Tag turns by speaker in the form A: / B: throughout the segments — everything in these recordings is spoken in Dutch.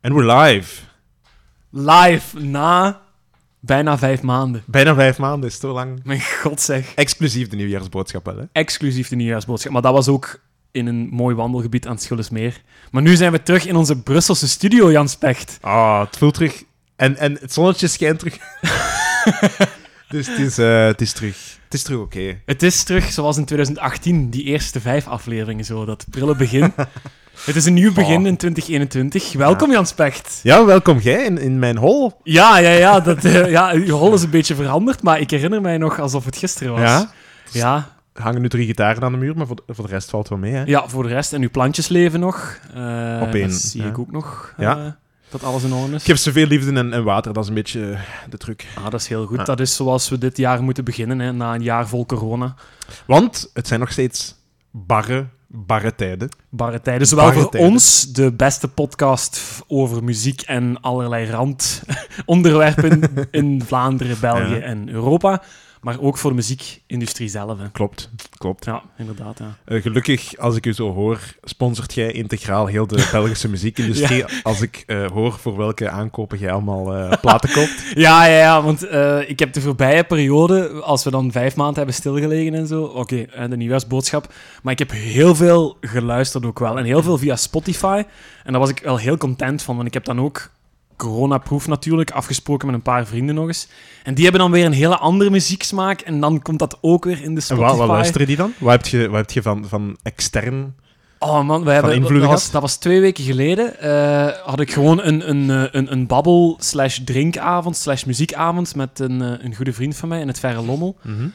A: En we're live.
B: Live na bijna vijf maanden.
A: Bijna vijf maanden is zo lang.
B: Mijn god zeg.
A: Exclusief de nieuwjaarsboodschap wel, hè?
B: Exclusief de nieuwjaarsboodschap. Maar dat was ook in een mooi wandelgebied aan het Schillesmeer. Maar nu zijn we terug in onze Brusselse studio, Jan Specht.
A: Ah, het voelt terug. En, en het zonnetje schijnt terug. dus het is, eh, het is terug. Het is terug oké.
B: Het is terug zoals in 2018, die eerste vijf afleveringen zo, dat prille begin. Het is een nieuw begin
A: Oh.
B: in 2021. Welkom, Jan Specht.
A: Ja, welkom jij in, in mijn hol.
B: Ja, ja, ja, dat, eh, ja. Uw rol is een beetje veranderd, maar ik herinner mij nog alsof het gisteren was.
A: Ja.
B: Ja,
A: Er hangen nu drie gitaren aan de muur, maar voor de, voor de rest valt wel mee, hè?
B: ja, voor de rest. En uw plantjes leven nog. Eh,
A: Op één,
B: Dat zie
A: ja.
B: ik ook nog. eh,
A: Ja.
B: dat alles in orde is.
A: Geef zoveel liefde en, en water, dat is een beetje eh, de truc.
B: Ah, dat is heel goed.
A: Ah.
B: Dat is zoals we dit jaar moeten beginnen, hè, na een jaar vol corona.
A: Want het zijn nog steeds barre, barre tijden.
B: Barre tijden. Zowel
A: Barre
B: voor
A: tijden.
B: ons, de beste podcast f- over muziek en allerlei randonderwerpen in Vlaanderen, België
A: Ja.
B: en Europa. Maar ook voor de muziekindustrie zelf. Hè.
A: Klopt, klopt.
B: Ja, inderdaad. Ja.
A: Eh, gelukkig, als ik u zo hoor, sponsort jij integraal heel de Belgische muziekindustrie. Als ik eh, hoor voor welke aankopen jij allemaal eh, platen koopt.
B: Ja, ja, ja, want eh, ik heb de voorbije periode, als we dan vijf maanden hebben stilgelegen en zo, oké, eh, de nieuwjaarsboodschap, maar ik heb heel veel geluisterd ook wel. En heel veel via Spotify. En daar was ik wel heel content van, want ik heb dan ook coronaproof natuurlijk afgesproken met een paar vrienden nog eens. En die hebben dan weer een hele andere muzieksmaak en dan komt dat ook weer in de
A: En
B: Spotify.
A: waar, waar luisteren die dan? Wat heb je, wat heb je van, van extern?
B: Oh man, we hebben,
A: invloeden
B: dat, was,
A: gehad?
B: dat was twee weken geleden. eh, had ik gewoon een, een, eh, een, een babbel slash drinkavond slash muziekavond met een, eh, een goede vriend van mij in het verre Lommel.
A: Mhm.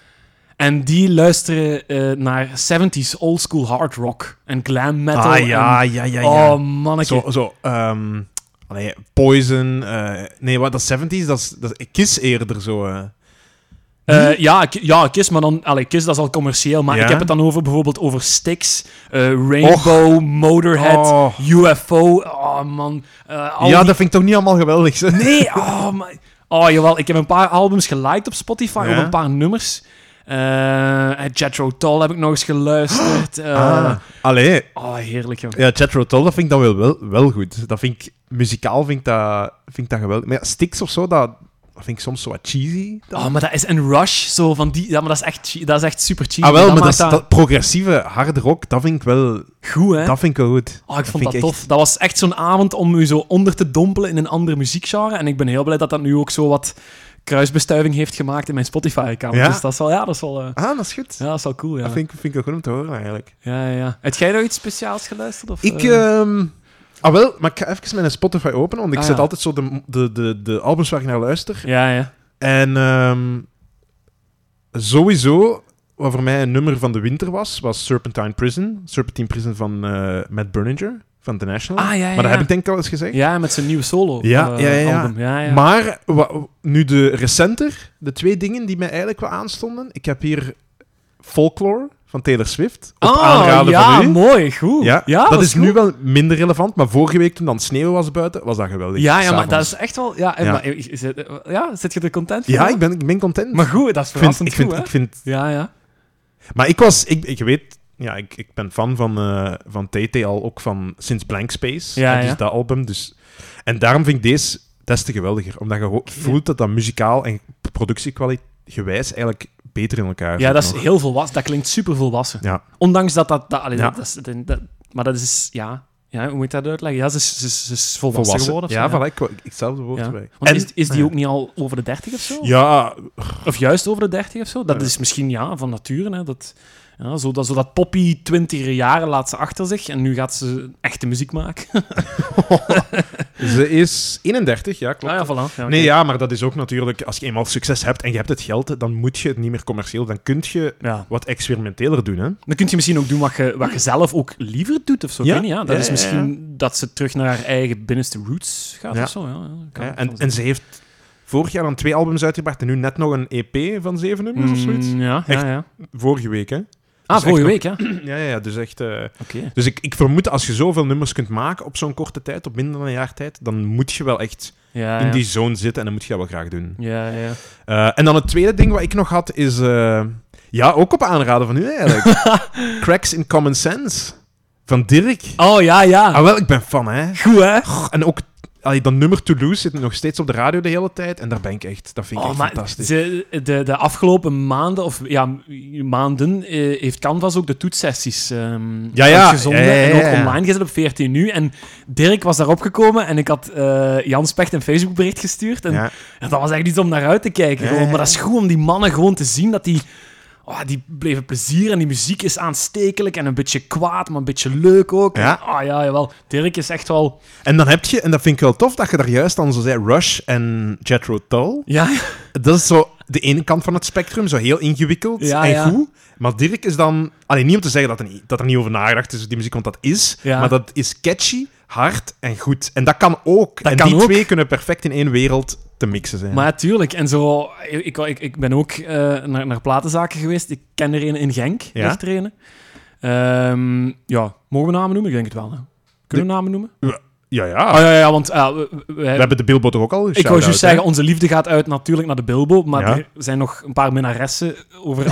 B: En die luisteren eh, naar 70s old school hard rock en glam metal.
A: ah ja,
B: en-
A: ja, ja, ja.
B: Oh manneke.
A: zo, zo ehm, allee, Poison. eh, nee, wat, dat 70s, dat is, dat is Kiss eerder zo. eh.
B: Eh, ja, Ki- ja, Kiss, maar dan... Allee, Kiss, dat is al commercieel, maar
A: Ja?
B: ik heb het dan over bijvoorbeeld over Styx, eh, Rainbow, Motorhead,
A: Oh.
B: UFO. Oh man. eh, al
A: Ja,
B: die
A: dat vind ik toch niet allemaal geweldig. Hè?
B: Nee, oh, maar... Oh, jawel, ik heb een paar albums geliked op Spotify,
A: Ja?
B: op een paar nummers. Eh Jethro Tull heb ik nog eens geluisterd. eh,
A: Ah. Allee,
B: Oh, heerlijk, joh.
A: Ja, Jethro Tull, dat vind ik dan wel, wel, wel goed. Dat vind ik, muzikaal vind ik dat, vind ik dat geweldig. Maar ja, Styx of zo, dat, dat vind ik soms zo wat cheesy. Dat-
B: Oh, maar dat is een rush, zo van die... Ja, maar dat is echt, che- dat is echt super cheap.
A: ah, wel,
B: dat
A: maar dat,
B: maakt
A: is- dat progressieve harde rock, dat vind ik wel,
B: Goed, hè?
A: dat vind ik wel goed.
B: oh, ik vond
A: vind
B: dat
A: ik
B: tof. Dat was echt zo'n avond om u zo onder te dompelen in een andere muziekgenre. En ik ben heel blij dat dat nu ook zo wat kruisbestuiving heeft gemaakt in mijn Spotify-account.
A: Ja?
B: Dus dat is wel... Ja, dat is wel... eh,
A: Ah, dat is goed.
B: ja, dat is wel cool, ja.
A: Dat vind ik, vind ik wel goed om te horen, eigenlijk.
B: Ja, ja, ja. Heb jij nog iets speciaals geluisterd? Of,
A: Ik,
B: eh?
A: ehm, ah wel, maar ik ga even mijn Spotify openen, want ik
B: Ah,
A: zet
B: ja.
A: altijd zo de, de, de, de albums waar ik naar luister.
B: Ja, ja.
A: En ehm, sowieso, wat voor mij een nummer van de winter was, was Serpentine Prison. Serpentine Prison van eh Matt Berninger, van The National.
B: Ah, ja, ja,
A: maar dat
B: ja.
A: heb ik denk ik al eens gezegd.
B: Ja, met zijn nieuwe solo
A: Ja,
B: eh,
A: ja, ja.
B: album. Ja, ja.
A: Maar wa- nu de recenter, de twee dingen die mij eigenlijk wel aanstonden. Ik heb hier Folklore van Taylor Swift, op
B: Ah,
A: aanraden
B: ja,
A: van u.
B: mooi, goed.
A: Ja, dat
B: was
A: is
B: goed.
A: nu wel minder relevant, maar vorige week toen dan sneeuw was buiten, was dat geweldig.
B: Ja, ja, maar
A: S'avonds.
B: dat is echt wel... Ja, en
A: Ja.
B: Maar, is het- eh, ja zit je er content van?
A: Ja, ik ben, ik ben content.
B: Maar goed, dat is
A: ik vind,
B: verrassend
A: ik vind,
B: goed,
A: ik vind
B: hè? Ja, ja.
A: Maar ik was, ik, ik weet, ja, ik, ik ben fan van, eh, van TT al, ook van sinds Blank Space.
B: Ja,
A: hè, dus
B: ja.
A: dat album. Dus. En daarom vind ik deze des te geweldiger, omdat je gewoon voelt dat dat muzikaal en productiegewijs eigenlijk beter in elkaar
B: Ja,
A: zit
B: dat is
A: nog.
B: heel volwassen. Dat klinkt super volwassen.
A: Ja.
B: Ondanks dat dat... dat, allee,
A: Ja.
B: dat, dat, is- dat- dat- maar dat is... Ja. ja, hoe moet je dat uitleggen? Ja, ze is, ze is, ze is volwassen,
A: volwassen.
B: geworden. of
A: ja,
B: zo, ja.
A: voilà, ik, ik- hetzelfde woord
B: Ja.
A: erbij.
B: Want
A: En-
B: is, is die
A: ja.
B: ook niet al over de 30 of zo?
A: Ja,
B: Of juist over de 30 of zo? Dat
A: Ja.
B: is misschien ja, van nature. Hè? Dat, ja, zo, dat, zo dat poppy 20 jaren laat ze achter zich en nu gaat ze echte muziek maken.
A: ze is 31, ja, klopt.
B: Ah, ja, voilà. Ja, oké.
A: Nee, ja, maar dat is ook natuurlijk, als je eenmaal succes hebt en je hebt het geld, dan moet je het niet meer commercieel, dan kun je
B: Ja.
A: wat experimenteler doen, hè.
B: Dan kun je misschien ook doen wat je, wat je zelf ook liever doet of zo. Ik
A: Ja?
B: weet niet, ja. Dat
A: Ja,
B: is
A: ja,
B: misschien dat ze terug naar haar eigen binnenste roots gaat
A: Ja.
B: of zo. Ja, ja, kan-
A: Ja,
B: kan
A: en, en ze heeft vorig jaar dan twee albums uitgebracht en nu net nog een EP van zeven
B: zijn.
A: nummers of zoiets.
B: Mm, ja,
A: Echt?
B: ja, ja.
A: Vorige week, hè?
B: Ah,
A: echt
B: vorige
A: nog-
B: week, ja. Oké.
A: Ja, ja, ja dus echt. eh, Dus ik, ik vermoed als je zoveel nummers kunt maken op zo'n korte tijd, op minder dan een jaar tijd, dan moet je wel echt
B: Ja,
A: in
B: ja.
A: die zone zitten en dan moet je dat wel graag doen.
B: Ja, ja.
A: Eh, en dan het tweede ding wat ik nog had is. eh, ja, ook op aanraden van u eigenlijk. Cracks in Common Sense van Dirk.
B: Oh, ja, ja.
A: Ah, wel, ik ben fan, hè?
B: Goed, hè?
A: En ook. allee, dat nummer Toulouse zit nog steeds op de radio de hele tijd. En daar ben ik echt, dat vind ik echt
B: Oh, maar
A: fantastisch.
B: ze- de, de afgelopen maanden, of ja, maanden, eh, heeft Canvas ook de toetssessies ehm
A: Ja, ja.
B: uitgezonden
A: Ja, ja, ja,
B: en
A: ja.
B: ook online gezet op 14 nu. En Dirk was daarop gekomen en ik had eh Jan Specht een Facebookbericht gestuurd. En
A: Ja.
B: ja, dat was echt iets om naar uit te kijken.
A: Ja,
B: gewoon.
A: ja,
B: Maar dat is goed om die mannen gewoon te zien dat die... ah, die bleven plezier en die muziek is aanstekelijk en een beetje kwaad, maar een beetje leuk ook.
A: Ja.
B: En, ah ja, jawel. Dirk is echt wel...
A: En dan heb je, en dat vind ik wel tof, dat je daar juist dan zo zei, Rush en Jethro Tull.
B: Ja,
A: Dat is zo de ene kant van het spectrum, zo heel ingewikkeld
B: Ja,
A: en
B: ja.
A: goed. Maar Dirk is dan... Alleen niet om te zeggen dat er niet, dat er niet over nagedacht is, die muziek, want dat is.
B: Ja.
A: Maar dat is catchy, hard en goed. En dat kan ook.
B: Dat
A: en
B: kan
A: die
B: ook.
A: twee kunnen perfect in één wereld te mixen zijn.
B: Maar ja, tuurlijk. En zo, ik, ik, ik ben ook eh, naar, naar platenzaken geweest. Ik ken er een in Genk,
A: Ja?
B: ligt er een. Ehm, ja, mogen we namen noemen? Ik denk het wel. Hè. Kunnen we namen noemen?
A: ja, ja.
B: Oh ja, ja, ja, want eh, we- we- we-
A: Ah. We hebben de Billboard toch ook al
B: ik wou juist zeggen, onze liefde gaat uit natuurlijk naar de Bilbo, maar
A: Ja.
B: er zijn nog een paar minnaressen over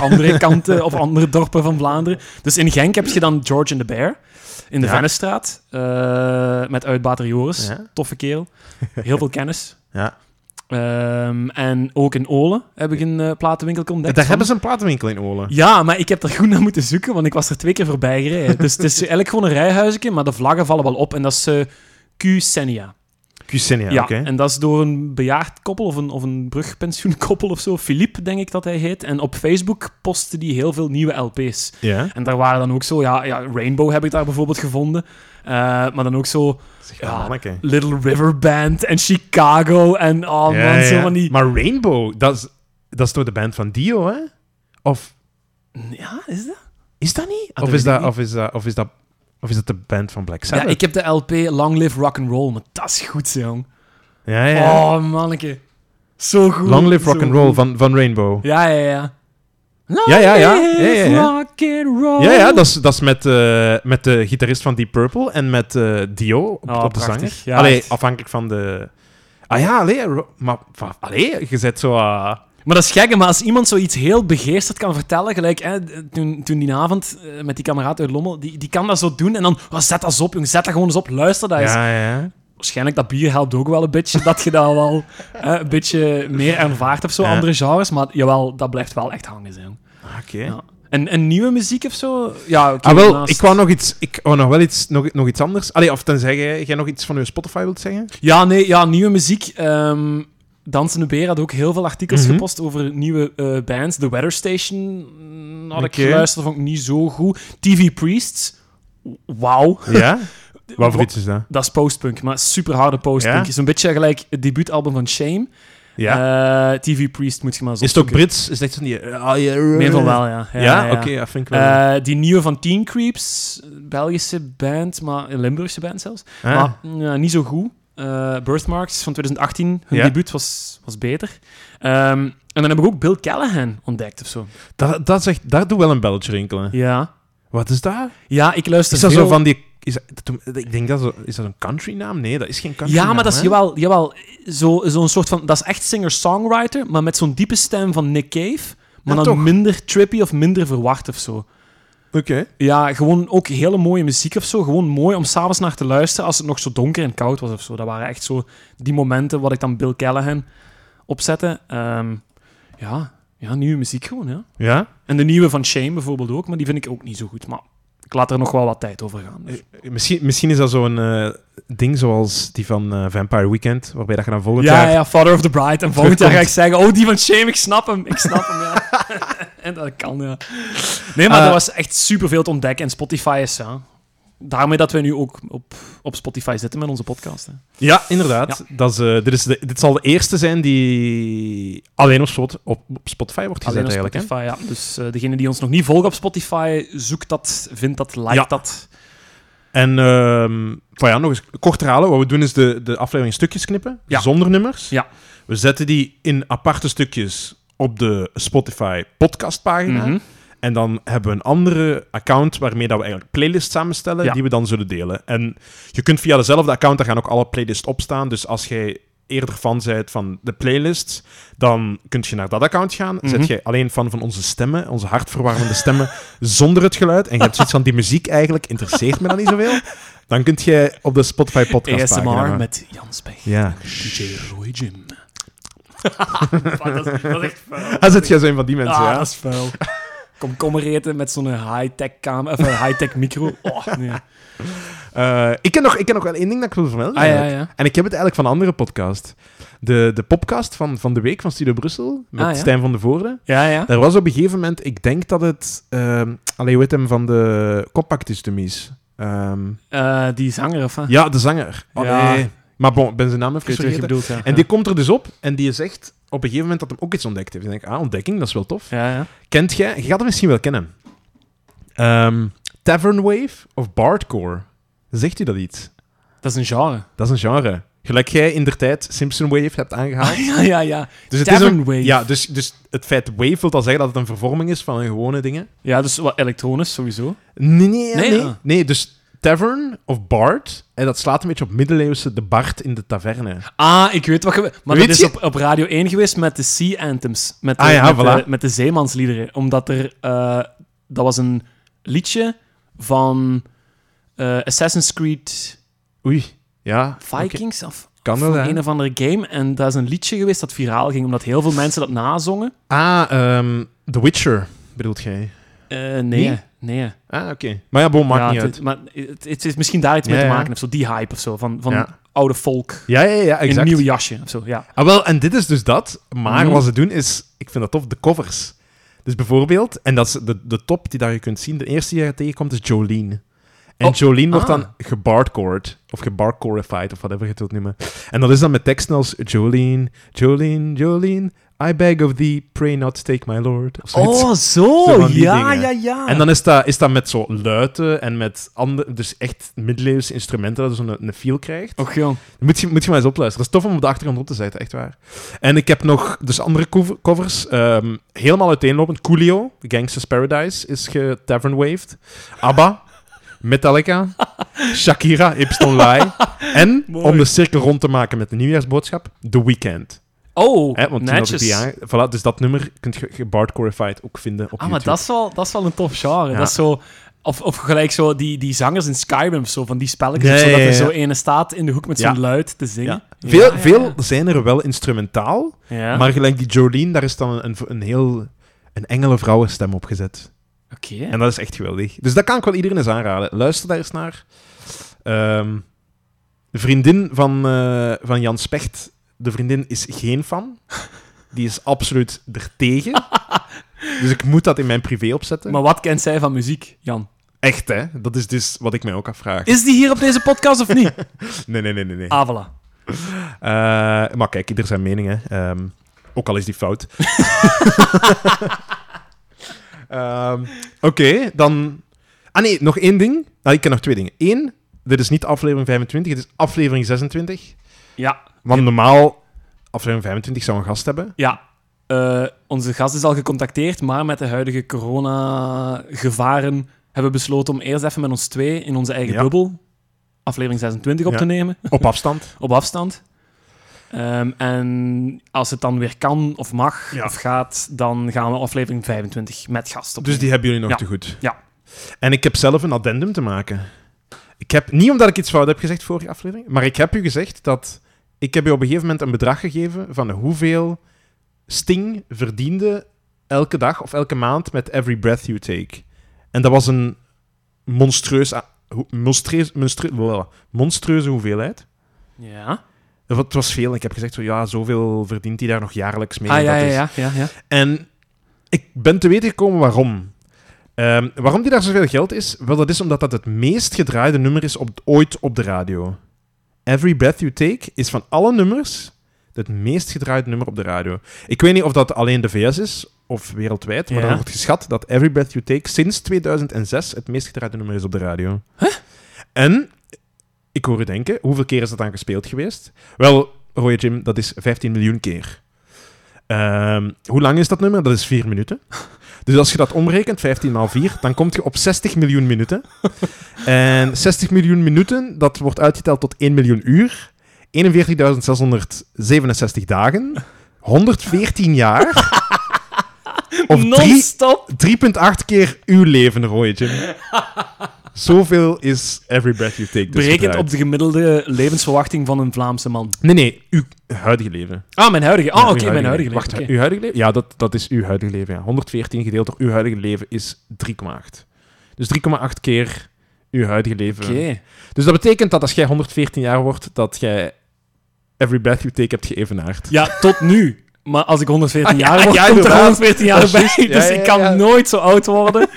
B: andere kanten of andere dorpen van Vlaanderen. Dus in Genk heb je dan George and the Bear in de
A: Ja.
B: Vennestraat eh, met uitbater Joris.
A: Ja.
B: Toffe kerel. Heel veel kennis.
A: Ja.
B: Ehm, en ook in Olen heb ik een eh, platenwinkel ontdekt.
A: Daar
B: van.
A: hebben ze een platenwinkel in Olen.
B: Ja, maar ik heb er goed naar moeten zoeken, want ik was er twee keer voorbij gereden. dus het is eigenlijk gewoon een rijhuisje, maar de vlaggen vallen wel op. En dat is eh Q Senia.
A: Kusenia,
B: Ja,
A: oké.
B: en dat is door een bejaard koppel of een, of een brugpensioenkoppel of zo. Philippe, denk ik dat hij heet. En op Facebook postte die heel veel nieuwe LP's.
A: Ja.
B: En daar waren dan ook zo, ja, ja Rainbow heb ik daar bijvoorbeeld gevonden. Eh, maar dan ook zo
A: Zeg, ah,
B: Ja.
A: manneke.
B: Little River Band en Chicago en oh
A: Ja,
B: man,
A: ja,
B: zo
A: ja.
B: van die...
A: Maar Rainbow, dat is, dat is toch de band van Dio, hè? Of
B: Ja, is dat?
A: is dat niet?
B: dat
A: of,
B: weet
A: is
B: ik
A: dat,
B: niet.
A: of, is dat, of is dat... Of is dat de band van Black Sabbath?
B: Ja, ik heb de LP Long Live Rock and Roll, maar dat is goed, jong.
A: Ja, ja.
B: Oh, manneke. Zo goed.
A: Long Live
B: zo
A: Rock and
B: goed.
A: Roll van, van Rainbow.
B: Ja, ja, ja. Long
A: Ja, ja, ja. Ja,
B: live
A: ja, ja.
B: Rock and roll.
A: Ja, ja, dat is, dat is met, eh, met de gitarist van Deep Purple en met eh, Dio op,
B: Oh,
A: op de zanger.
B: prachtig. Ja,
A: allee,
B: echt.
A: afhankelijk van de... Ah ja, allee, ro- maar va- allee, je zet zo... ah,
B: Maar dat is gek, hè, maar als iemand zoiets heel begeesterd kan vertellen, gelijk hè, toen, toen die avond eh, met die kameraad uit Lommel, die, die kan dat zo doen en dan, oh, zet dat eens op, jong, zet dat gewoon eens op, luister dat eens.
A: ja, ja.
B: Waarschijnlijk dat bier helpt ook wel een beetje, dat je dat wel hè, een beetje meer ervaart of zo,
A: Ja.
B: andere genres, maar jawel, dat blijft wel echt hangen zijn.
A: Ah, Oké.
B: Ja. En, en nieuwe muziek of zo? Ja, oké,
A: Ah, wel,
B: naast-
A: ik wou nog iets, ik wou nog wel iets, nog, nog iets anders. Allee, of tenzij jij, jij nog iets van je Spotify wilt zeggen.
B: Ja, nee, ja, nieuwe muziek. ehm Dansende Beer had ook heel veel artikels
A: Mhm.
B: gepost over nieuwe eh, bands. The Weather Station mm, had
A: Oké.
B: ik geluisterd, vond ik niet zo goed. TV Priests, wauw.
A: Ja? Wat voor iets is dat?
B: Dat is postpunk, maar super harde postpunk.
A: Ja?
B: Is een beetje gelijk het debuutalbum van Shame.
A: Ja.
B: Eh, TV Priest moet je maar zo.
A: is het ook Brits? Is het echt van die... ah, ja,
B: Meer van wel, ja.
A: Ja, oké, dat vind ik wel.
B: Eh, die nieuwe van Teen Creeps, Belgische band, maar een Limburgse band zelfs.
A: Ah.
B: Maar ja, niet zo goed. Eh, Birthmarks van 2018, hun
A: Ja.
B: debuut was, was beter. Ehm, en dan heb ik ook Bill Callahan ontdekt of zo.
A: dat, dat, is echt, dat doet wel een belletje rinkelen.
B: Ja,
A: Wat is dat?
B: ja ik luister
A: Is dat
B: veel...
A: zo van die... Is dat, toen- ik denk dat zo, is dat een countrynaam? Nee, dat is geen country
B: Ja, maar dat is jawel, jawel zo- zo'n soort van... Dat is echt singer-songwriter, maar met zo'n diepe stem van Nick Cave. Maar
A: Ja,
B: dan
A: toch.
B: minder trippy of minder verwacht of zo.
A: Oké.
B: Ja, gewoon ook hele mooie muziek of zo. Gewoon mooi om s'avonds naar te luisteren als het nog zo donker en koud was of zo. Dat waren echt zo die momenten wat ik dan Bill Callahan opzette. Ehm, ja, ja, nieuwe muziek gewoon, ja.
A: Ja?
B: En de nieuwe van Shame bijvoorbeeld ook, maar die vind ik ook niet zo goed. Maar ik laat er nog wel wat tijd over gaan. dus.
A: Eh, Misschien, misschien is dat zo'n eh, ding zoals die van eh, Vampire Weekend, waarbij dat je dan volgend
B: Ja,
A: jaar...
B: ja, Father of the Bride. En volgend jaar ga ik
A: Terugkomt.
B: zeggen, oh, die van Shame, ik snap hem. Ik snap hem, ja. en dat kan, ja. Nee, maar
A: Eh,
B: er was echt superveel te ontdekken. En Spotify is, ja... Daarmee dat we nu ook op, op Spotify zitten met onze podcast, hè.
A: Ja, inderdaad. Dat is, eh, dit, is de, dit zal de eerste zijn die alleen op, Spot- op, op Spotify wordt gezet
B: Alleen op
A: eigenlijk. hè?
B: Spotify, ja. Dus eh, degene die ons nog niet volgen op Spotify, zoek dat, vind dat, like
A: Ja.
B: dat.
A: En ehm, van ja, nog eens kort herhalen. Wat we doen is de, de aflevering in stukjes knippen,
B: Ja.
A: zonder nummers.
B: Ja.
A: We zetten die in aparte stukjes op de Spotify podcastpagina.
B: Mhm.
A: En dan hebben we een andere account waarmee dat we eigenlijk playlists samenstellen,
B: Ja.
A: die we dan zullen delen. En je kunt via dezelfde account, daar gaan ook alle playlists op staan. Dus als jij eerder fan bent van de playlists, dan kun je naar dat account gaan.
B: Mhm.
A: Zet jij alleen fan van onze stemmen, onze hartverwarmende stemmen, zonder het geluid. En je hebt zoiets van, die muziek eigenlijk interesseert me dan niet zoveel. Dan kunt jij op de Spotify podcast
B: ASMR met Jan Spech.
A: Ja.
B: DJ Roy Jim. dat, is, dat is echt vuil.
A: Dan zit jij zo een van die mensen,
B: Ah,
A: ja.
B: dat is vuil. Komkommer eten met zo'n high-tech camera, of een high-tech micro. Oh, nee.
A: Eh, ik, ken nog, ik ken nog wel één ding dat ik wil vermelden.
B: Ah, ja,
A: eigenlijk.
B: ja.
A: En ik heb het eigenlijk van een andere podcast. De, de podcast van, van de week van Studio Brussel, met
B: Ah, ja.
A: Stijn van de Voorde.
B: Ja, ja.
A: Er was op een gegeven moment, ik denk dat het... ehm allee, hoe heet hem van de Compactustomies? Ehm
B: Eh, die zanger, of wat?
A: ja, de zanger. Oh,
B: Ja.
A: nee. Maar bon, ik ben zijn naam even
B: Ik weet wat je
A: vergeten.
B: bedoelt, ja.
A: En die komt er dus op en die zegt op een gegeven moment dat hem ook iets ontdekt heeft. Ik denk, ah, ontdekking, dat is wel tof.
B: Ja, ja.
A: Kent jij, je gaat hem misschien wel kennen. Ehm, Tavern Wave of Bardcore? Zegt u dat iets?
B: Dat is een genre.
A: Dat is een genre. Gelijk jij in der tijd Simpson Wave hebt aangehaald.
B: ja, ja, ja.
A: Dus het
B: Tavern
A: is een,
B: Ah, Wave.
A: Ja, dus, dus het feit wave wil dan zeggen dat het een vervorming is van een gewone dingen.
B: Ja, dus wat elektronisch sowieso.
A: Nee, nee,
B: Nee,
A: nee. Nee,
B: ja.
A: dus tavern of bard, en dat slaat een beetje op middeleeuwse de bard in de taverne.
B: Ah, ik weet wat je... Maar
A: Weet
B: dat is
A: je?
B: op, op Radio 1 geweest met de Sea Anthems. Met de,
A: Ah ja,
B: met
A: voilà.
B: de, met de zeemansliederen. Omdat er... eh, dat was een liedje van eh, Assassin's Creed
A: Oei, ja. oké.
B: Vikings of...
A: Kan wel,
B: van
A: hè.
B: een of andere game. En dat is een liedje geweest dat viraal ging, omdat heel veel mensen dat nazongen.
A: Ah, ehm, The Witcher, bedoelt jij?
B: Eh, nee,
A: Nee?
B: nee. nee.
A: Ah, oké. Maar ja, bon, maakt
B: Ja,
A: niet
B: het-
A: uit.
B: Maar het, het is misschien daar iets
A: Ja,
B: mee te
A: ja.
B: maken of zo. Die hype of zo, van, van
A: Ja.
B: oude volk.
A: Ja, ja, ja,
B: in Een
A: exact.
B: nieuw jasje of zo, ja.
A: Ah, wel, en dit is dus dat. Maar
B: Mhm.
A: wat ze doen is, ik vind dat tof, de covers. Dus bijvoorbeeld, en dat is de, de top die daar je kunt zien, de eerste die je tegenkomt is Jolene. En
B: Oh,
A: Jolene wordt
B: ah.
A: dan gebardcored, of gebardcorified, of whatever je het wilt noemen. En dat is dan met teksten als Jolene, Jolene, Jolene, I beg of thee, pray not take my lord. Of zoiets.
B: Oh, zo!
A: Zo van die
B: ja,
A: dingen.
B: ja, ja.
A: En dan is dat, is dat met zo luiten en met andere, dus echt middeleeuwse instrumenten, dat je zo'n een feel krijgt.
B: Och, jong.
A: Moet je, moet je maar eens opluisteren. Dat is tof om op de achtergrond op te zetten, echt waar. En ik heb nog dus andere cover- covers. ehm, helemaal uiteenlopend. Coolio, Gangsta's Paradise, is getavernwaved. ABBA, Metallica, Shakira, Ipston Lai. En,
B: Mooi.
A: om de cirkel rond te maken met de nieuwjaarsboodschap, The Weeknd.
B: Oh,
A: Hè, want toen had ik
B: netjes.
A: die aan- voilà, dus dat nummer kunt je gebardcorified ook vinden op
B: ah, maar
A: YouTube.
B: dat is, wel, dat is wel een tof genre.
A: Ja.
B: Dat is zo... Of, of gelijk zo die, die zangers in Skyrim, of zo, van die spelletjes.
A: Nee,
B: of zo, dat
A: ja,
B: er
A: ja.
B: zo ene staat in de hoek met zo'n
A: Ja.
B: luid te zingen. Ja. Ah,
A: Veel,
B: ja,
A: veel zijn er wel instrumentaal,
B: ja. Ja.
A: maar gelijk die Jolene, daar is dan een, een heel... Een engelenvrouwenstem op gezet.
B: Oké.
A: En dat is echt geweldig. Dus dat kan ik wel iedereen eens aanraden. Luister daar eens naar. Ehm, de vriendin van, eh, van Jan Specht, de vriendin is geen fan. Die is absoluut ertegen. dus ik moet dat in mijn privé opzetten.
B: Maar wat kent zij van muziek, Jan?
A: Echt, hè? Dat is dus wat ik mij ook afvraag.
B: Is die hier op deze podcast of niet?
A: Nee, nee, nee, nee. nee.
B: Ah, voilà.
A: Eh, maar kijk, ieder zijn mening, hè. Ehm, ook al is die fout. Ehm, Oké, dan... Ah nee, nog één ding. Nou, ik ken nog twee dingen. Eén, dit is niet aflevering 25, dit is aflevering 26.
B: Ja,
A: Want normaal, aflevering 25 zou een gast hebben.
B: Ja, eh, onze gast is al gecontacteerd, maar met de huidige corona-gevaren hebben we besloten om eerst even met ons twee in onze eigen
A: Ja.
B: bubbel aflevering 26 op
A: Ja.
B: te nemen,
A: Op afstand.
B: op afstand. Ehm, en als het dan weer kan of mag
A: Ja.
B: of gaat, dan gaan we aflevering 25 met gast op.
A: Dus die hebben jullie nog
B: Ja.
A: te goed.
B: Ja.
A: En ik heb zelf een addendum te maken. Ik heb, niet omdat ik iets fout heb gezegd vorige aflevering, maar ik heb u gezegd dat... Ik heb u op een gegeven moment een bedrag gegeven van hoeveel Sting verdiende elke dag of elke maand met Every Breath You Take. En dat was een monstrueus... a- hoe- monstrueus, monstru- blablabla, monstrueuze hoeveelheid.
B: Ja.
A: Dat wa- Het was veel. Ik heb gezegd, zo, ja, zoveel verdient hij daar nog jaarlijks mee.
B: Ah,
A: En
B: ja,
A: dat
B: ja,
A: is-
B: ja, ja, ja.
A: en ik ben te weten gekomen waarom. Ehm, waarom die daar zoveel geld is? Wel, dat is omdat dat het meest gedraaide nummer is op, ooit op de radio. Every Breath You Take is van alle nummers het meest gedraaide nummer op de radio. Ik weet niet of dat alleen de VS is of wereldwijd, maar
B: Ja.
A: er wordt geschat dat Every Breath You Take sinds 2006 het meest gedraaide nummer is op de radio. En, ik hoor u denken, hoeveel keer is dat dan gespeeld geweest? Wel, Roy Jim, dat is 15 miljoen keer. Ehm, hoe lang is dat nummer? Dat is 4 minuten. Dus als je dat omrekent, 15 maal 4, dan kom je op 60 miljoen minuten. En 60 miljoen minuten, dat wordt uitgeteld tot 1 miljoen uur. 41.667 dagen. 114 jaar. Of drie-
B: Non-stop!
A: 3,8 keer uw leven, Roy Jim. Zoveel is Every Breath You Take. Dus
B: Berekend
A: gedraaid.
B: op de gemiddelde levensverwachting van een Vlaamse man.
A: Nee, nee, uw huidige leven.
B: Ah, mijn huidige. Ah,
A: Ja,
B: oké,
A: uw
B: mijn huidige.
A: Wacht,
B: leven. Oké.
A: uw huidige leven? Ja, dat, dat is uw huidige leven. Ja. 114 gedeeld door uw huidige leven is 3,8. Dus 3,8 keer uw huidige leven.
B: Oké.
A: Dus dat betekent dat als jij 114 jaar wordt, dat jij Every Breath You Take hebt geëvenaard.
B: Ja, tot nu. Maar als ik 114
A: Ah, ja,
B: jaar word,
A: ja,
B: komt er
A: inderdaad.
B: 114 jaar
A: Dat
B: bij.
A: is
B: Dus
A: juist. Ja, ja,
B: ik kan
A: ja.
B: nooit zo oud worden.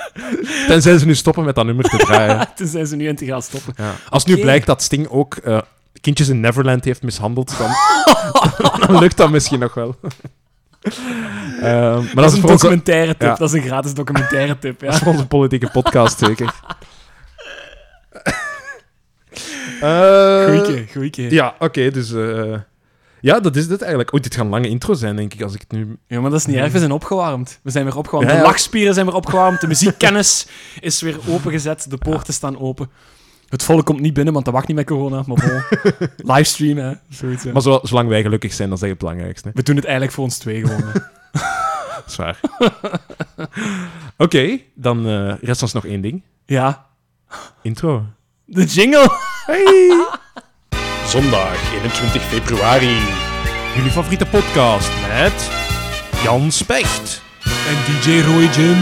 A: Tenzij ze nu stoppen met dat nummer te draaien.
B: Tenzij ze nu integraal stoppen.
A: Ja. Als nu
B: Oké.
A: blijkt dat Sting ook eh, kindjes in Neverland heeft mishandeld, dan, dan lukt dat misschien nog wel. Ehm, maar
B: Dat,
A: dat
B: is
A: is
B: een
A: voor onze,
B: documentaire tip.
A: ja.
B: Dat is een gratis documentaire tip.
A: dat is
B: Ja.
A: voor onze politieke podcast zeker. Eh,
B: Goeie, goeie. Ja.
A: Ja, oké, dus... eh, ja, dat is het eigenlijk. Oh, dit gaan lange intro zijn, denk ik, als ik het nu...
B: maar dat is niet erg. We zijn opgewarmd. We zijn weer opgewarmd.
A: Ja,
B: De
A: ja.
B: lachspieren zijn weer opgewarmd. De muziekkennis is weer opengezet. De poorten staan open. Het volk komt niet binnen, want dat wacht niet met corona. Maar bon. Livestream, hè. Zoiets, ja.
A: Maar zo, zolang wij gelukkig zijn, dat is eigenlijk het belangrijkste. hè.
B: We doen het eigenlijk voor ons twee gewoon. hè.
A: Dat is waar. oké, dan eh, rest ons nog één ding.
B: Ja.
A: Intro.
B: De jingle.
A: Hey!
C: Zondag 21 februari.
A: Jullie favoriete podcast met... Jan Specht.
B: En DJ Roy Jim.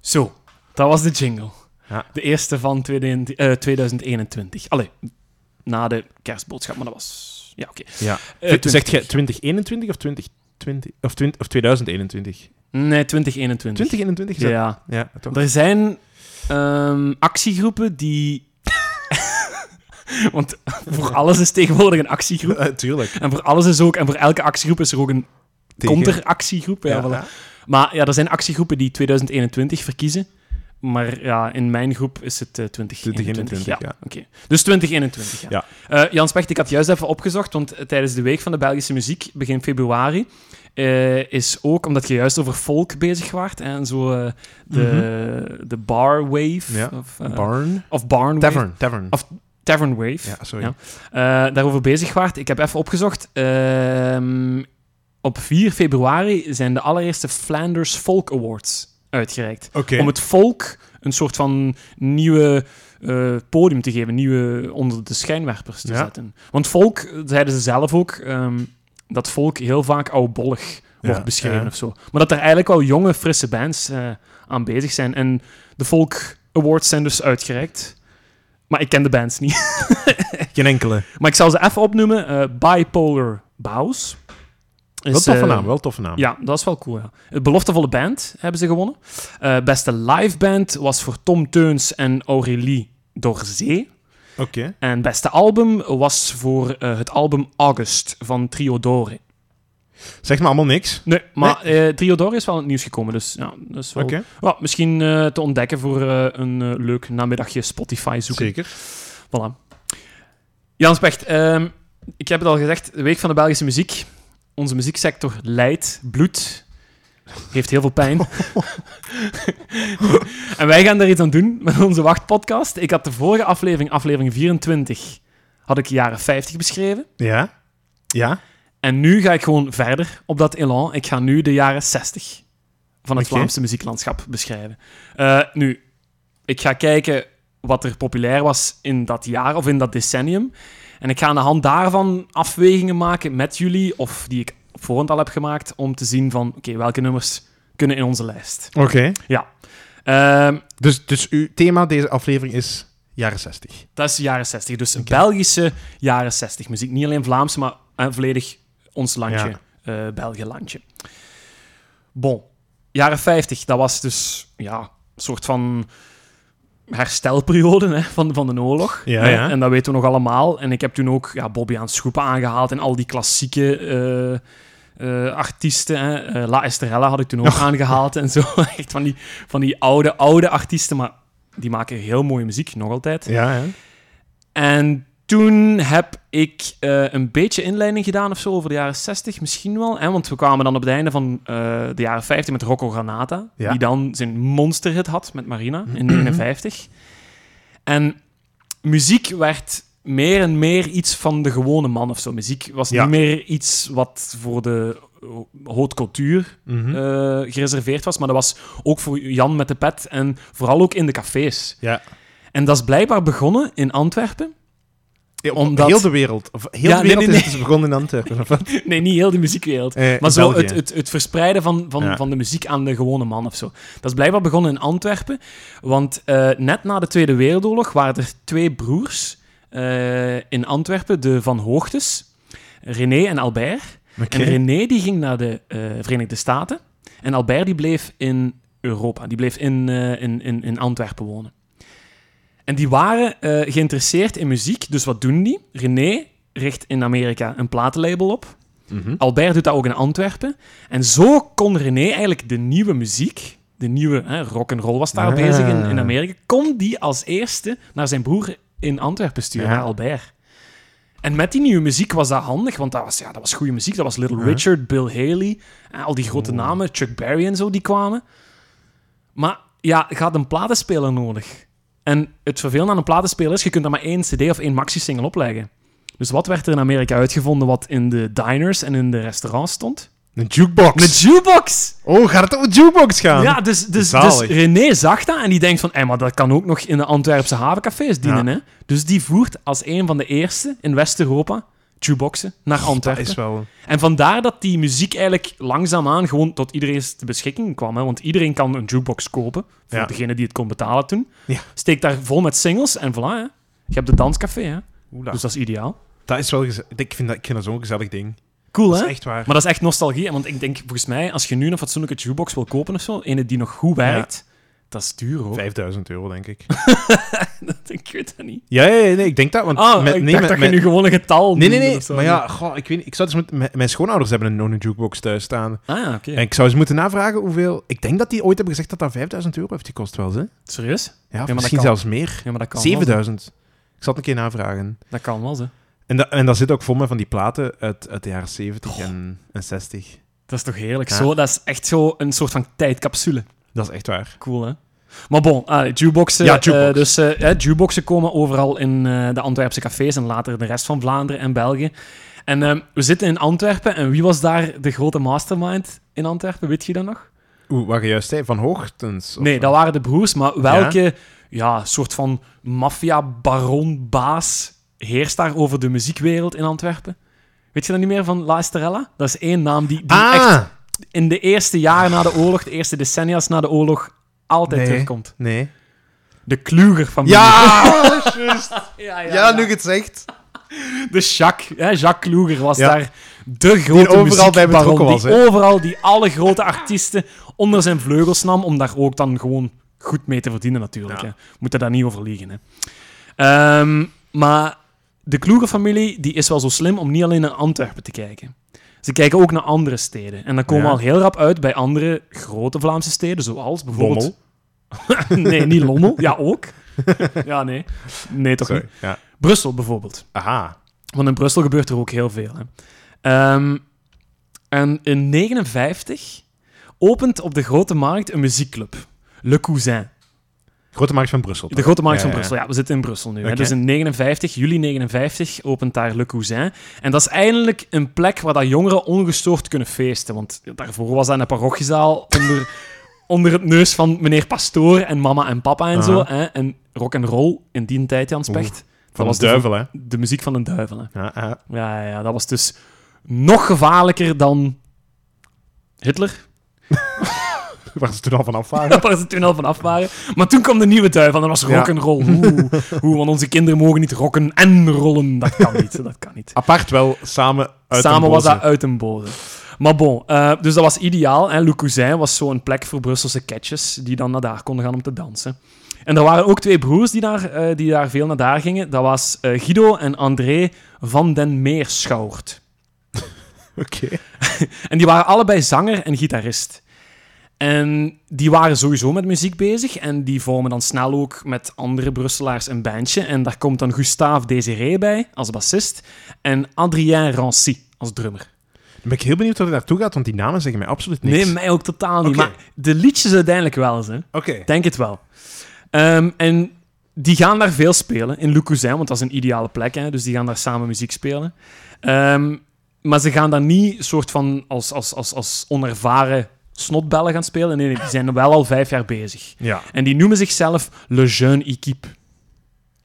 B: Zo, dat was de jingle.
A: Ja.
B: De eerste van 20, eh, 2021. Allee, na de kerstboodschap, maar dat was... Ja, oké.
A: Ja.
B: Eh,
A: Zegt jij 2021 of 2020? Of, 20, of 2021?
B: Nee, 2021.
A: 2021? is dat-
B: Ja.
A: Ja, toch?
B: Er zijn ehm, actiegroepen die... Want voor alles is tegenwoordig een actiegroep.
A: Eh, tuurlijk.
B: En voor alles is ook... En voor elke actiegroep is er ook een
A: Tegen-
B: counteractiegroep. Ja, voilà. Maar ja, er zijn actiegroepen die 2021 verkiezen. Maar ja, in mijn groep is het eh, 2021.
A: 2021,
B: ja.
A: ja.
B: oké. Dus 2021, ja.
A: Ja.
B: Eh, Jan Specht, ik had juist even opgezocht, want eh, tijdens de Week van de Belgische Muziek, begin februari, eh, is ook, omdat je juist over folk bezig waart, hè, en zo eh, de, de bar wave,
A: Mhm. Ja,
B: of, eh,
A: Barn.
B: of barn wave,
A: Tavern. Tavern.
B: Of- tavern wave,
A: Ja, sorry.
B: Ja. eh, daarover bezig waart. Ik heb even opgezocht. Ehm, op 4 februari zijn de allereerste Flanders Folk Awards uitgereikt.
A: Oké.
B: Om het volk een soort van nieuwe eh, podium te geven, nieuwe onder de schijnwerpers te
A: Ja.
B: zetten. Want volk, eh, zeiden ze zelf ook, ehm, dat volk heel vaak oudbollig wordt
A: Ja,
B: beschreven
A: ja.
B: of zo. Maar dat er eigenlijk wel jonge, frisse bands eh, aan bezig zijn. En de Folk Awards zijn dus uitgereikt. Maar ik ken de bands niet.
A: Geen enkele.
B: Maar ik zal ze even opnoemen. Eh, Bipolar Bows. Is,
A: Wel toffe
B: eh,
A: naam, wel toffe naam.
B: Ja, dat is wel cool. Ja. Het beloftevolle band hebben ze gewonnen. Eh, beste live band was voor Tom Teuns en Aurélie Dorzee.
A: Oké.
B: En beste album was voor eh, het album August van Triodore.
A: Zeg maar allemaal niks.
B: Nee, maar eh, Triodore is wel in het nieuws gekomen. Dus ja, dat is wel...
A: Oké.
B: Ja, misschien eh, te ontdekken voor eh, een eh, leuk namiddagje Spotify zoeken.
A: Zeker.
B: Voilà. Jan Specht, ehm, ik heb het al gezegd, de Week van de Belgische Muziek. Onze muzieksector lijdt, bloedt, heeft heel veel pijn. en wij gaan daar iets aan doen met onze wachtpodcast. Ik had de vorige aflevering, aflevering 24, had ik jaren 50 beschreven.
A: Ja. Ja.
B: En nu ga ik gewoon verder op dat elan. Ik ga nu de jaren 60 van het
A: Oké.
B: Vlaamse muzieklandschap beschrijven. Eh, nu, ik ga kijken wat er populair was in dat jaar of in dat decennium. En ik ga aan de hand daarvan afwegingen maken met jullie, of die ik op voorhand al heb gemaakt, om te zien van, oké, welke nummers kunnen in onze lijst.
A: Oké.
B: Ja. Ehm,
A: Dus, dus uw thema deze aflevering is jaren 60.
B: Dat is de jaren 60. Dus Belgische jaren 60 muziek. Niet alleen Vlaams, maar eh, volledig ons landje, eh België landje. Bon, jaren 50, dat was dus ja, een soort van herstelperiode hè, van, van de oorlog.
A: Ja,
B: Hè,
A: ja.
B: En dat weten we nog allemaal. En ik heb toen ook ja, Bobby aan Schoepen aangehaald en al die klassieke eh, eh, artiesten. Hè. Eh, La Estrella had ik toen ook
A: Oh.
B: aangehaald en zo. Echt van die, van die oude, oude artiesten, maar die maken heel mooie muziek, nog altijd.
A: Ja, ja.
B: En toen heb ik eh, een beetje inleiding gedaan of zo over de jaren 60 misschien wel. Hè? Want we kwamen dan op het einde van eh, de jaren 50 met Rocco Granata.
A: Ja. Mhm.
B: Die dan zijn monsterhit had met Marina in 59. En muziek werd meer en meer iets van de gewone man of zo. Muziek was
A: Ja.
B: niet meer iets wat voor de ho- haute couture
A: Mhm.
B: eh, gereserveerd was. Maar dat was ook voor Jan met de pet en vooral ook in de cafés.
A: ja.
B: En dat is blijkbaar begonnen in Antwerpen.
A: Ja, op-
B: Eh, omdat-
A: Heel de wereld. Of heel
B: Ja,
A: de
B: nee,
A: wereld
B: nee,
A: is het begonnen in Antwerpen. of wat?
B: Nee, niet heel de muziekwereld.
A: Eh,
B: Maar
A: in
B: zo
A: België.
B: het, het, het verspreiden van, van,
A: Ja.
B: van de muziek aan de gewone man of zo. Dat is blijkbaar begonnen in Antwerpen. Want eh, net na de Tweede Wereldoorlog waren er twee broers eh, in Antwerpen, de Van Hoogtes, René en Albert.
A: Oké.
B: En René die ging naar de eh, Verenigde Staten. En Albert die bleef in Europa. Die bleef in, eh, in, in, in Antwerpen wonen. En die waren eh, geïnteresseerd in muziek. Dus wat doen die? René richt in Amerika een platenlabel op.
A: Mhm.
B: Albert doet dat ook in Antwerpen. En zo kon René eigenlijk de nieuwe muziek, de nieuwe hè, rock and roll was daar
A: Ah.
B: bezig in, in Amerika, kon die als eerste naar zijn broer in Antwerpen sturen,
A: Ja.
B: naar Albert. En met die nieuwe muziek was dat handig, want dat was, ja, dat was goede muziek. Dat was Little
A: Ja.
B: Richard, Bill Haley, eh, al die grote namen, Chuck Berry en zo, die kwamen. Maar ja, je had een platenspeler nodig. En het vervelende aan een platenspeler is, je kunt er maar één cd of één maxi-single opleggen. Dus wat werd er in Amerika uitgevonden wat in de diners en in de restaurants stond?
A: Een jukebox.
B: Een jukebox!
A: Oh, gaat het over jukebox gaan?
B: Ja, dus, dus, dus
A: Zalig.
B: René zag dat en die denkt van... "Hé, maar dat kan ook nog in de Antwerpse havencafés dienen,
A: Ja.
B: hè? Dus die voert als een van de eerste in West-Europa jukeboxen naar
A: dat
B: Antwerpen.
A: is wel...
B: En vandaar dat die muziek eigenlijk langzaamaan gewoon tot iedereen's te beschikking kwam. Hè? Want iedereen kan een jukebox kopen, voor
A: Ja.
B: degene die het kon betalen toen.
A: Ja.
B: Steek daar vol met singles en voilà, hè? Je hebt de danscafé, hè? Dus dat is ideaal.
A: Dat is wel... gez- Ik vind dat, ik vind dat zo'n gezellig ding.
B: Cool,
A: Dat
B: hè?
A: is echt waar.
B: Maar dat is echt nostalgie, hè, want ik denk, volgens mij, als je nu een fatsoenlijke jukebox wil kopen of zo, ene die nog goed werkt, dat is duur, hoor.
A: 5000 euro, denk ik.
B: ik weet dat niet.
A: Ja, ja, ja, nee, ik denk dat. Want
B: Ah,
A: met-
B: ik
A: nee,
B: dacht
A: met-
B: dat
A: met-
B: je nu gewoon een getal
A: Nee, nee,
B: noemde
A: nee.
B: of zo.
A: Maar ja, goh, ik weet niet. Ik zou dus met, mijn- mijn schoonouders hebben een, nog een jukebox thuis staan.
B: Ah, ja, oké.
A: En ik zou eens moeten navragen hoeveel... Ik denk dat die ooit hebben gezegd dat dat 5000 euro heeft gekost wel, hè? Ja,
B: Serieus?
A: of
B: dat
A: misschien
B: kan.
A: zelfs meer.
B: Ja, maar dat kan wel.
A: 7000. Ik zal het een keer navragen.
B: Dat kan wel, hè.
A: En, dat en dat zit ook vol met van die platen uit, uit de jaren 70 en, en 60.
B: Dat is toch heerlijk.
A: Ja.
B: Zo, dat is echt zo een soort van tijdcapsule.
A: Dat is echt waar.
B: Cool, hè? Maar bon, ah, jukeboxen.
A: Ja, jukebox.
B: eh, dus eh, hè, jukeboxen komen overal in eh, de Antwerpse cafés en later de rest van Vlaanderen en België. En ehm, we zitten in Antwerpen en wie was daar de grote mastermind in Antwerpen? Weet je dat nog?
A: Oeh, wat je juist zei, Van Hoogtens? of eh,
B: nee,
A: zo.
B: dat waren de broers, maar welke ja? soort van maffia-baron-baas heerst daar over de muziekwereld in Antwerpen? Weet je dat niet meer van La Estrella? Dat is één naam die, die echt
A: Ah!
B: in de eerste jaren na de oorlog, de eerste decennia's na de oorlog, altijd
A: Nee.
B: terugkomt.
A: Nee.
B: De kluger van
A: Ja! Oh, juist.
B: ja, ja,
A: Ja, nu je het zegt.
B: De Jacques, hè, Jacques Kluger was
A: Ja.
B: daar de grote
A: overal bij
B: muziekbaron
A: betrokken was,
B: die
A: hè.
B: overal die alle grote artiesten onder zijn vleugels nam, om daar ook dan gewoon goed mee te verdienen natuurlijk.
A: Ja.
B: Hè. Moet er daar niet over liegen. Hè. Ehm, maar de Kluger-familie die is wel zo slim om niet alleen naar Antwerpen te kijken. Ze kijken ook naar andere steden. En dan komen
A: Ja.
B: we al heel rap uit bij andere grote Vlaamse steden, zoals bijvoorbeeld...
A: Bommel.
B: nee, niet Lommel. Ja, ook. ja, nee. Nee, toch
A: Sorry.
B: niet.
A: Ja.
B: Brussel bijvoorbeeld.
A: Aha.
B: Want in Brussel gebeurt er ook heel veel. Hè. Ehm, en in 59 opent op de Grote Markt een muziekclub. Le Cousin.
A: Grote markt van Brussel.
B: De Grote Markt
A: Ja,
B: van
A: ja, ja.
B: Brussel. Ja, we zitten in Brussel nu. hè.
A: Oké.
B: Dus in 59, juli 59 opent daar Le Cousin. En dat is eindelijk een plek waar dat jongeren ongestoord kunnen feesten. Want daarvoor was dat een parochiezaal onder, onder het neus van meneer Pastoor en mama en papa en zo.
A: Aha.
B: Hè. En rock and roll in die tijd, Jan Specht.
A: Van
B: was
A: de
B: de-
A: duivel, hè?
B: De muziek van een duivel. Hè.
A: Ja, ja.
B: Ja, ja, ja, dat was dus nog gevaarlijker dan Hitler.
A: Waar ze toen al van af waren.
B: Waar ze toen al van af waren. Maar toen kwam de nieuwe duivel en dat was
A: Ja.
B: rock and roll. Oeh, oeh, want onze kinderen mogen niet rocken en rollen. Dat kan niet, dat kan niet.
A: Apart wel, samen uit
B: Samen
A: een
B: was
A: boze.
B: dat uit een boze. Maar bon, eh, dus dat was ideaal. En Le Cousin was zo'n plek voor Brusselse catches die dan naar daar konden gaan om te dansen. En er waren ook twee broers die daar, eh, die daar veel naar daar gingen. Dat was eh, Guido en André van den Meerschouwert.
A: Oké.
B: En die waren allebei zanger en gitarist. En die waren sowieso met muziek bezig. En die vormen dan snel ook met andere Brusselaars een bandje. En daar komt dan Gustave Desiré bij als bassist. En Adrien Rancy als drummer.
A: Dan ben ik heel benieuwd waar het naartoe gaat, want die namen zeggen mij absoluut niks.
B: Nee, mij ook totaal niet.
A: Oké.
B: Maar de liedjes uiteindelijk wel eens. Hè.
A: Oké.
B: Denk het wel. Ehm, en die gaan daar veel spelen in Le Cousin, want dat is een ideale plek. Hè? Dus die gaan daar samen muziek spelen. Ehm, Maar ze gaan dan niet soort van als, als, als, als onervaren snotbellen gaan spelen. Nee, nee, die zijn wel al vijf jaar bezig.
A: Ja.
B: En die noemen zichzelf Le Jeune Equipe.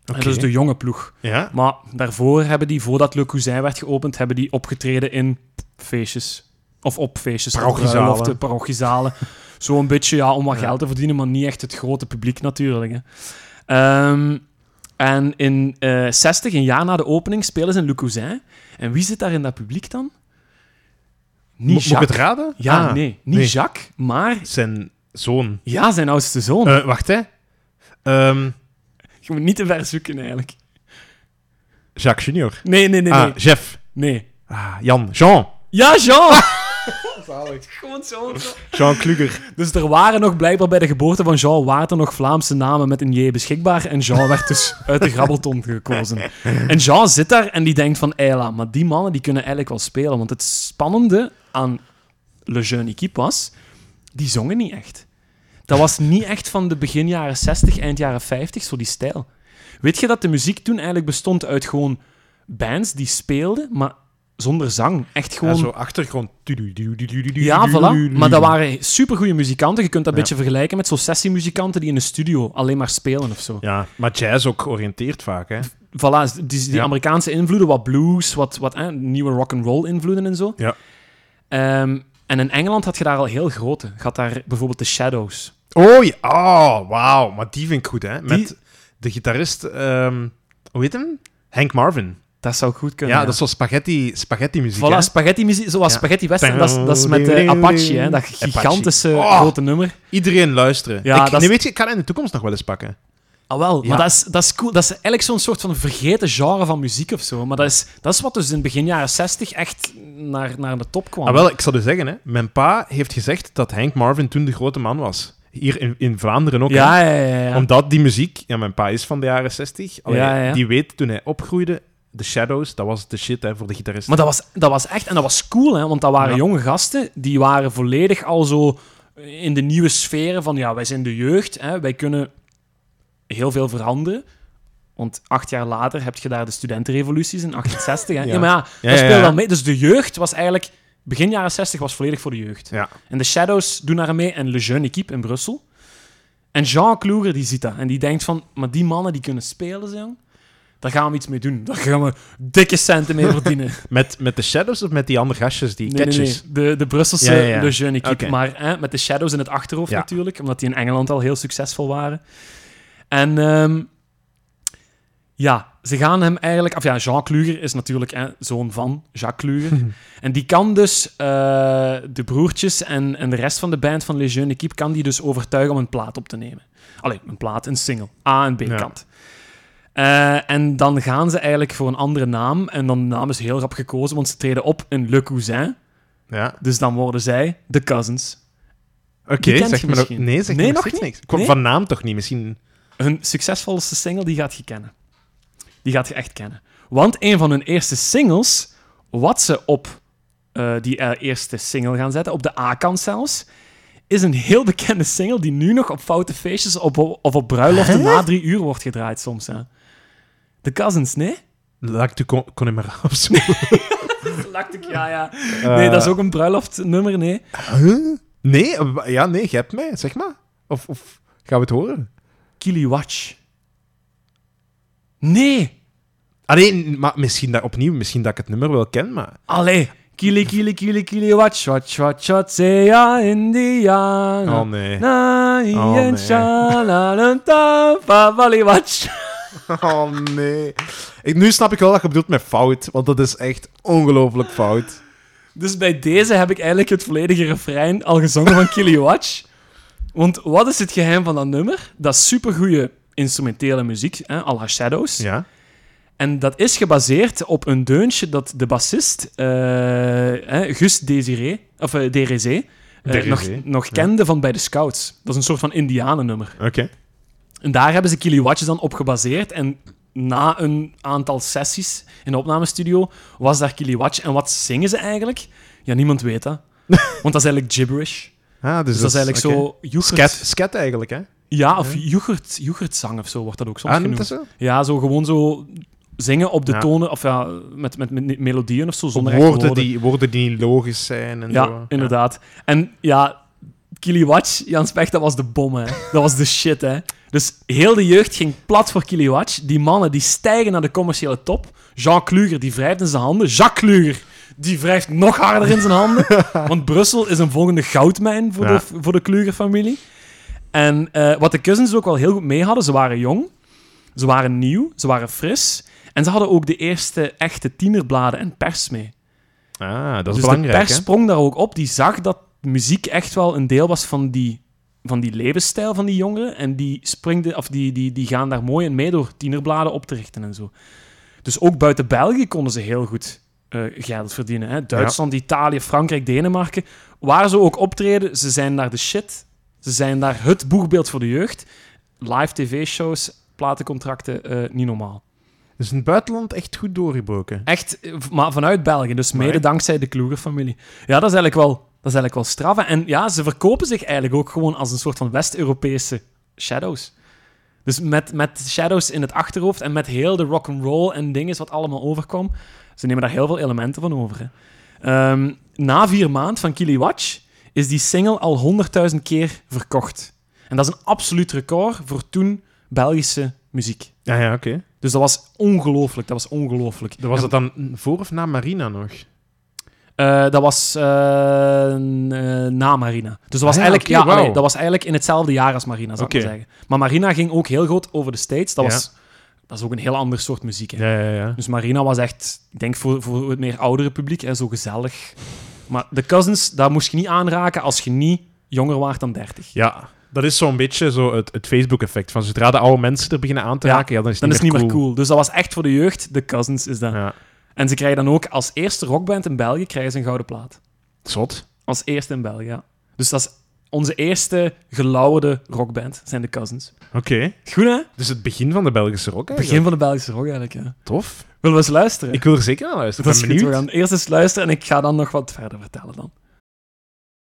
B: En
A: Oké.
B: Dat is de jonge ploeg.
A: Ja?
B: Maar daarvoor hebben die, voordat Le Cousin werd geopend, hebben die opgetreden in feestjes. Of op feestjes. of
A: Parochiezalen.
B: bruiloften, parochiezalen. Zo'n beetje, ja, om wat
A: Ja.
B: geld te verdienen, maar niet echt het grote publiek natuurlijk. Hè. Ehm, en in eh 60, een jaar na de opening, spelen ze in Le Cousin. En wie zit daar in dat publiek dan?
A: Mo-
B: Niet
A: Moet ik het
B: Jacques.
A: raden?
B: Ja,
A: Ah,
B: nee. Niet
A: nee.
B: Jacques, maar...
A: Zijn zoon.
B: Ja, zijn oudste zoon.
A: Eh, wacht, hè. Ehm,
B: Je moet niet te ver zoeken, eigenlijk.
A: Jacques Junior.
B: Nee, nee, nee, nee.
A: Ah, Jeff.
B: nee.
A: Ah, Jan. Jean.
B: Ja, Jean! Gewoon zo.
A: Jean Kluger.
B: Dus er waren nog blijkbaar bij de geboorte van Jean waren er nog Vlaamse namen met een J beschikbaar. En Jean werd dus uit de grabbelton gekozen. En Jean zit daar en die denkt van, Eila, maar die mannen die kunnen eigenlijk wel spelen. Want het spannende aan Le Jeune Equipe was, die zongen niet echt. Dat was niet echt van de begin jaren 60, eind jaren 50, zo die stijl. Weet je dat de muziek toen eigenlijk bestond uit gewoon bands die speelden, maar zonder zang. Echt
A: Ja,
B: gewoon
A: zo achtergrond. Tudu, tudu, tudu, tudu,
B: ja,
A: tudu,
B: voilà.
A: tudu.
B: Maar dat waren supergoeie muzikanten. Je kunt dat een
A: Ja.
B: beetje vergelijken met zo'n sessiemuzikanten die in een studio alleen maar spelen of zo.
A: Ja, maar jazz ook georiënteerd vaak, hè.
B: Voilà, die, die
A: Ja.
B: Amerikaanse invloeden, wat blues, wat, wat eh, nieuwe rock'n'roll invloeden en zo.
A: Ja.
B: Ehm, en in Engeland had je daar al heel grote. Je had daar bijvoorbeeld de Shadows.
A: Oh, ja. oh wauw. Maar die vind ik goed, hè. Met
B: Die-
A: de gitarist... ehm, hoe heet hem? Hank Marvin.
B: Dat zou goed
A: Ja,
B: kunnen.
A: dat is zo spaghetti, spaghetti muziek,
B: Voilà,
A: hè.
B: spaghetti muziek, zoals
A: Ja.
B: spaghetti western, dat is, dat is met eh, Apache, hè, dat gigantische
A: Apache. Oh.
B: grote nummer.
A: Iedereen luisteren.
B: Ja,
A: ik,
B: dat
A: nee,
B: is-
A: weet je, ik kan het in de toekomst nog wel eens pakken.
B: Ah, wel.
A: Ja.
B: Maar dat is, dat is cool. Dat is eigenlijk zo'n soort van vergeten genre van muziek of zo. Maar dat is, dat is wat dus in begin jaren 60 echt naar, naar de top kwam.
A: Ah, wel, ik zal je zeggen, hè. mijn pa heeft gezegd dat Hank Marvin toen de grote man was. Hier in, in Vlaanderen ook. hè.
B: Ja, ja, ja. ja.
A: Omdat die muziek, ja, mijn pa is van de jaren 60, allee,
B: Ja, ja, ja.
A: die weet toen hij opgroeide, The Shadows, dat was de shit hè, voor de gitarist.
B: Maar dat was, dat was echt... En dat was cool, hè. Want dat waren
A: Ja.
B: jonge gasten. Die waren volledig al zo in de nieuwe sferen van... Ja, wij zijn de jeugd. Hè, wij kunnen heel veel veranderen. Want acht jaar later heb je daar de studentenrevoluties in 68. Hè. Ja.
A: Ja.
B: maar ja, dat
A: ja,
B: speelde
A: ja.
B: wel mee. Dus de jeugd was eigenlijk... Begin jaren 60 was volledig voor de jeugd.
A: Ja,
B: En de Shadows doen daar mee en Le Jeune Equipe in Brussel. En Jean Kluger die ziet dat en die denkt van, maar die mannen die kunnen spelen, zo, jong. Daar gaan we iets mee doen. Daar gaan we dikke centen mee verdienen.
A: met, met The Shadows of met die andere gastjes, die
B: Nee, nee,
A: catches?
B: nee. De, de Brusselse
A: Ja, ja, ja.
B: Le Jeune Equipe.
A: Oké.
B: Maar hè, met de Shadows in het achterhoofd
A: Ja.
B: natuurlijk, omdat die in Engeland al heel succesvol waren. En ehm, ja, ze gaan hem eigenlijk... Of ja, Jean Kluger is natuurlijk hè, zoon van Jacques Kluger. en die kan dus eh, de broertjes en, en de rest van de band van Le Jeune Equipe... kan die dus overtuigen om een plaat op te nemen. Allee, een plaat, een single. A- en
A: Ja.
B: B-kant. Eh, en dan gaan ze eigenlijk voor een andere naam. En dan de naam is heel rap gekozen, want ze treden op in Le Cousin.
A: Ja,
B: Dus dan worden zij de cousins.
A: oké,
B: Die kent
A: zeg
B: je
A: maar nog...
B: misschien.
A: Nee, zeg
B: Nee,
A: me
B: nog
A: steeds
B: niet?
A: niks. Ik kwam
B: Nee?
A: van naam toch niet, misschien...
B: Hun succesvolste single, die gaat je kennen. Die gaat je echt kennen. Want een van hun eerste singles, wat ze op eh, die eh, eerste single gaan zetten, op de A-kant zelfs, is een heel bekende single die nu nog op foute feestjes op, of op bruiloften na drie uur wordt gedraaid soms. Hè. De cousins, nee?
A: Laat ik de kon, kon ik maar afzoeken.
B: Lactic, ja, ja. Nee, dat is ook een bruiloftnummer, nee.
A: Huh? Nee, eh, wa- ja, nee, je hebt mij, zeg maar. Of, of gaan we het horen?
B: Kiliwatch. Nee!
A: Ah nee, maar misschien dat, opnieuw, misschien dat ik het nummer wel ken, maar...
B: Allee. Kili, kili, kili, kili, watch, watch, watch, watch, sea, Indiana.
A: Oh nee.
B: Na,
A: Oh,
B: ien,
A: nee.
B: sha, la, la, ta, fa, vali, watch.
A: Oh nee. Ik, nu snap ik wel dat je bedoelt met fout, want dat is echt ongelooflijk fout.
B: Dus bij deze heb ik eigenlijk het volledige refrein al gezongen van Kili Watch. Want wat is het geheim van dat nummer? Dat is supergoeie instrumentele muziek, hè, à la Shadows.
A: Ja?
B: En dat is gebaseerd op een deuntje dat de bassist eh, hè, Gus Desiré, of eh Derézé, eh,
A: Derézé,
B: nog,
A: ja.
B: nog kende van bij de Scouts. Dat is een soort van indianennummer.
A: Oké.
B: En daar hebben ze Kiliwatjes dan op gebaseerd. En na een aantal sessies in de opnamestudio was daar Kiliwatch. En wat zingen ze eigenlijk? Ja, niemand weet dat. Want dat is eigenlijk gibberish.
A: Ah,
B: Dus dat is eigenlijk
A: oké.
B: zo yoghurt...
A: Scat, scat eigenlijk, hè?
B: Ja, of yoghurt, yoghurtzang of zo wordt dat ook soms
A: Ah, noemt
B: genoemd.
A: dat zo?
B: Ja, zo gewoon zo zingen op de
A: Ja.
B: tonen, of ja, met, met, met melodieën of zo, zonder echt
A: woorden, die, woorden die niet logisch zijn. En
B: Ja,
A: zo.
B: inderdaad. En ja, Kiliwatch, Jan Specht, dat was de bom, hè. Dat was de shit, hè. Dus heel de jeugd ging plat voor Kiliwatch. Die mannen die stijgen naar de commerciële top. Jean Kluger, die wrijft in zijn handen. Jacques Kluger, die wrijft nog harder in zijn handen. Want Brussel is een volgende goudmijn voor
A: Ja.
B: de, voor de Kluger-familie. En eh, wat de cousins ook wel heel goed mee hadden, ze waren jong, ze waren nieuw, ze waren fris. En ze hadden ook de eerste echte tienerbladen en pers mee
A: Ja. Ah, dat is
B: dus
A: belangrijk.
B: de pers
A: hè?
B: sprong daar ook op. Die zag dat muziek echt wel een deel was van die, van die levensstijl van die jongeren. En die, springde, of die, die, die gaan daar mooi in mee door tienerbladen op te richten en zo. Dus ook buiten België konden ze heel goed eh, geld verdienen. Hè? Duitsland, Italië, Frankrijk, Denemarken. Waar ze ook optreden, ze zijn daar de shit. Ze zijn daar het boegbeeld voor de jeugd. Live tv-shows, platencontracten, eh, niet normaal.
A: Dus in het buitenland echt goed doorgebroken.
B: Echt, eh, v- maar vanuit België. Dus mede
A: Amai.
B: dankzij de Kloeger-familie. Ja, dat is eigenlijk wel, dat is eigenlijk wel straf. hè. En ja, ze verkopen zich eigenlijk ook gewoon als een soort van West-Europese Shadows. Dus met, met Shadows in het achterhoofd en met heel de rock'n'roll en dingen wat allemaal overkwam. Ze nemen daar heel veel elementen van over. Hè. Ehm, na vier maand van Kiliwatch is die single al 100.000 keer verkocht. En dat is een absoluut record voor toen Belgische muziek.
A: Ja, ja, oké.
B: Dus dat was ongelooflijk, dat was ongelooflijk.
A: Dan Was
B: En-
A: dat dan voor of na Marina nog?
B: Eh, dat was eh, n- eh, na Marina. Dus dat was,
A: Ah ja,
B: eigenlijk,
A: oké,
B: ja,
A: wauw.
B: allee, dat was eigenlijk in hetzelfde jaar als Marina, zou ik
A: Oké.
B: maar zeggen. Maar Marina ging ook heel groot over de States. Dat,
A: Ja.
B: was, dat is ook een heel ander soort muziek. Hè.
A: Ja, ja, ja.
B: Dus Marina was echt, ik denk voor, voor het meer oudere publiek, hè, zo gezellig. Maar de Cousins, daar moest je niet aanraken als je niet jonger waart dan 30.
A: Ja, dat is zo'n beetje zo het, het Facebook-effect. Van zodra de oude mensen er beginnen aan te
B: Ja,
A: raken, ja, dan is het
B: Dan is
A: niet,
B: het niet
A: meer,
B: meer cool. Dus dat was echt voor de jeugd, de Cousins is dat.
A: Ja.
B: En ze krijgen dan ook als eerste rockband in België krijgen ze een gouden plaat.
A: Zot.
B: Als eerste in België, ja. Dus dat is onze eerste gelauwerde rockband, zijn de Cousins.
A: Oké.
B: Goed, hè?
A: Dus het begin van de Belgische rock eigenlijk.
B: Begin van de Belgische rock, eigenlijk, ja.
A: Tof.
B: Willen we eens luisteren?
A: Ik wil er zeker naar luisteren. Ik
B: dat is
A: ben
B: goed. We
A: benieuwd.
B: gaan eerst eens luisteren en ik ga dan nog wat verder vertellen dan.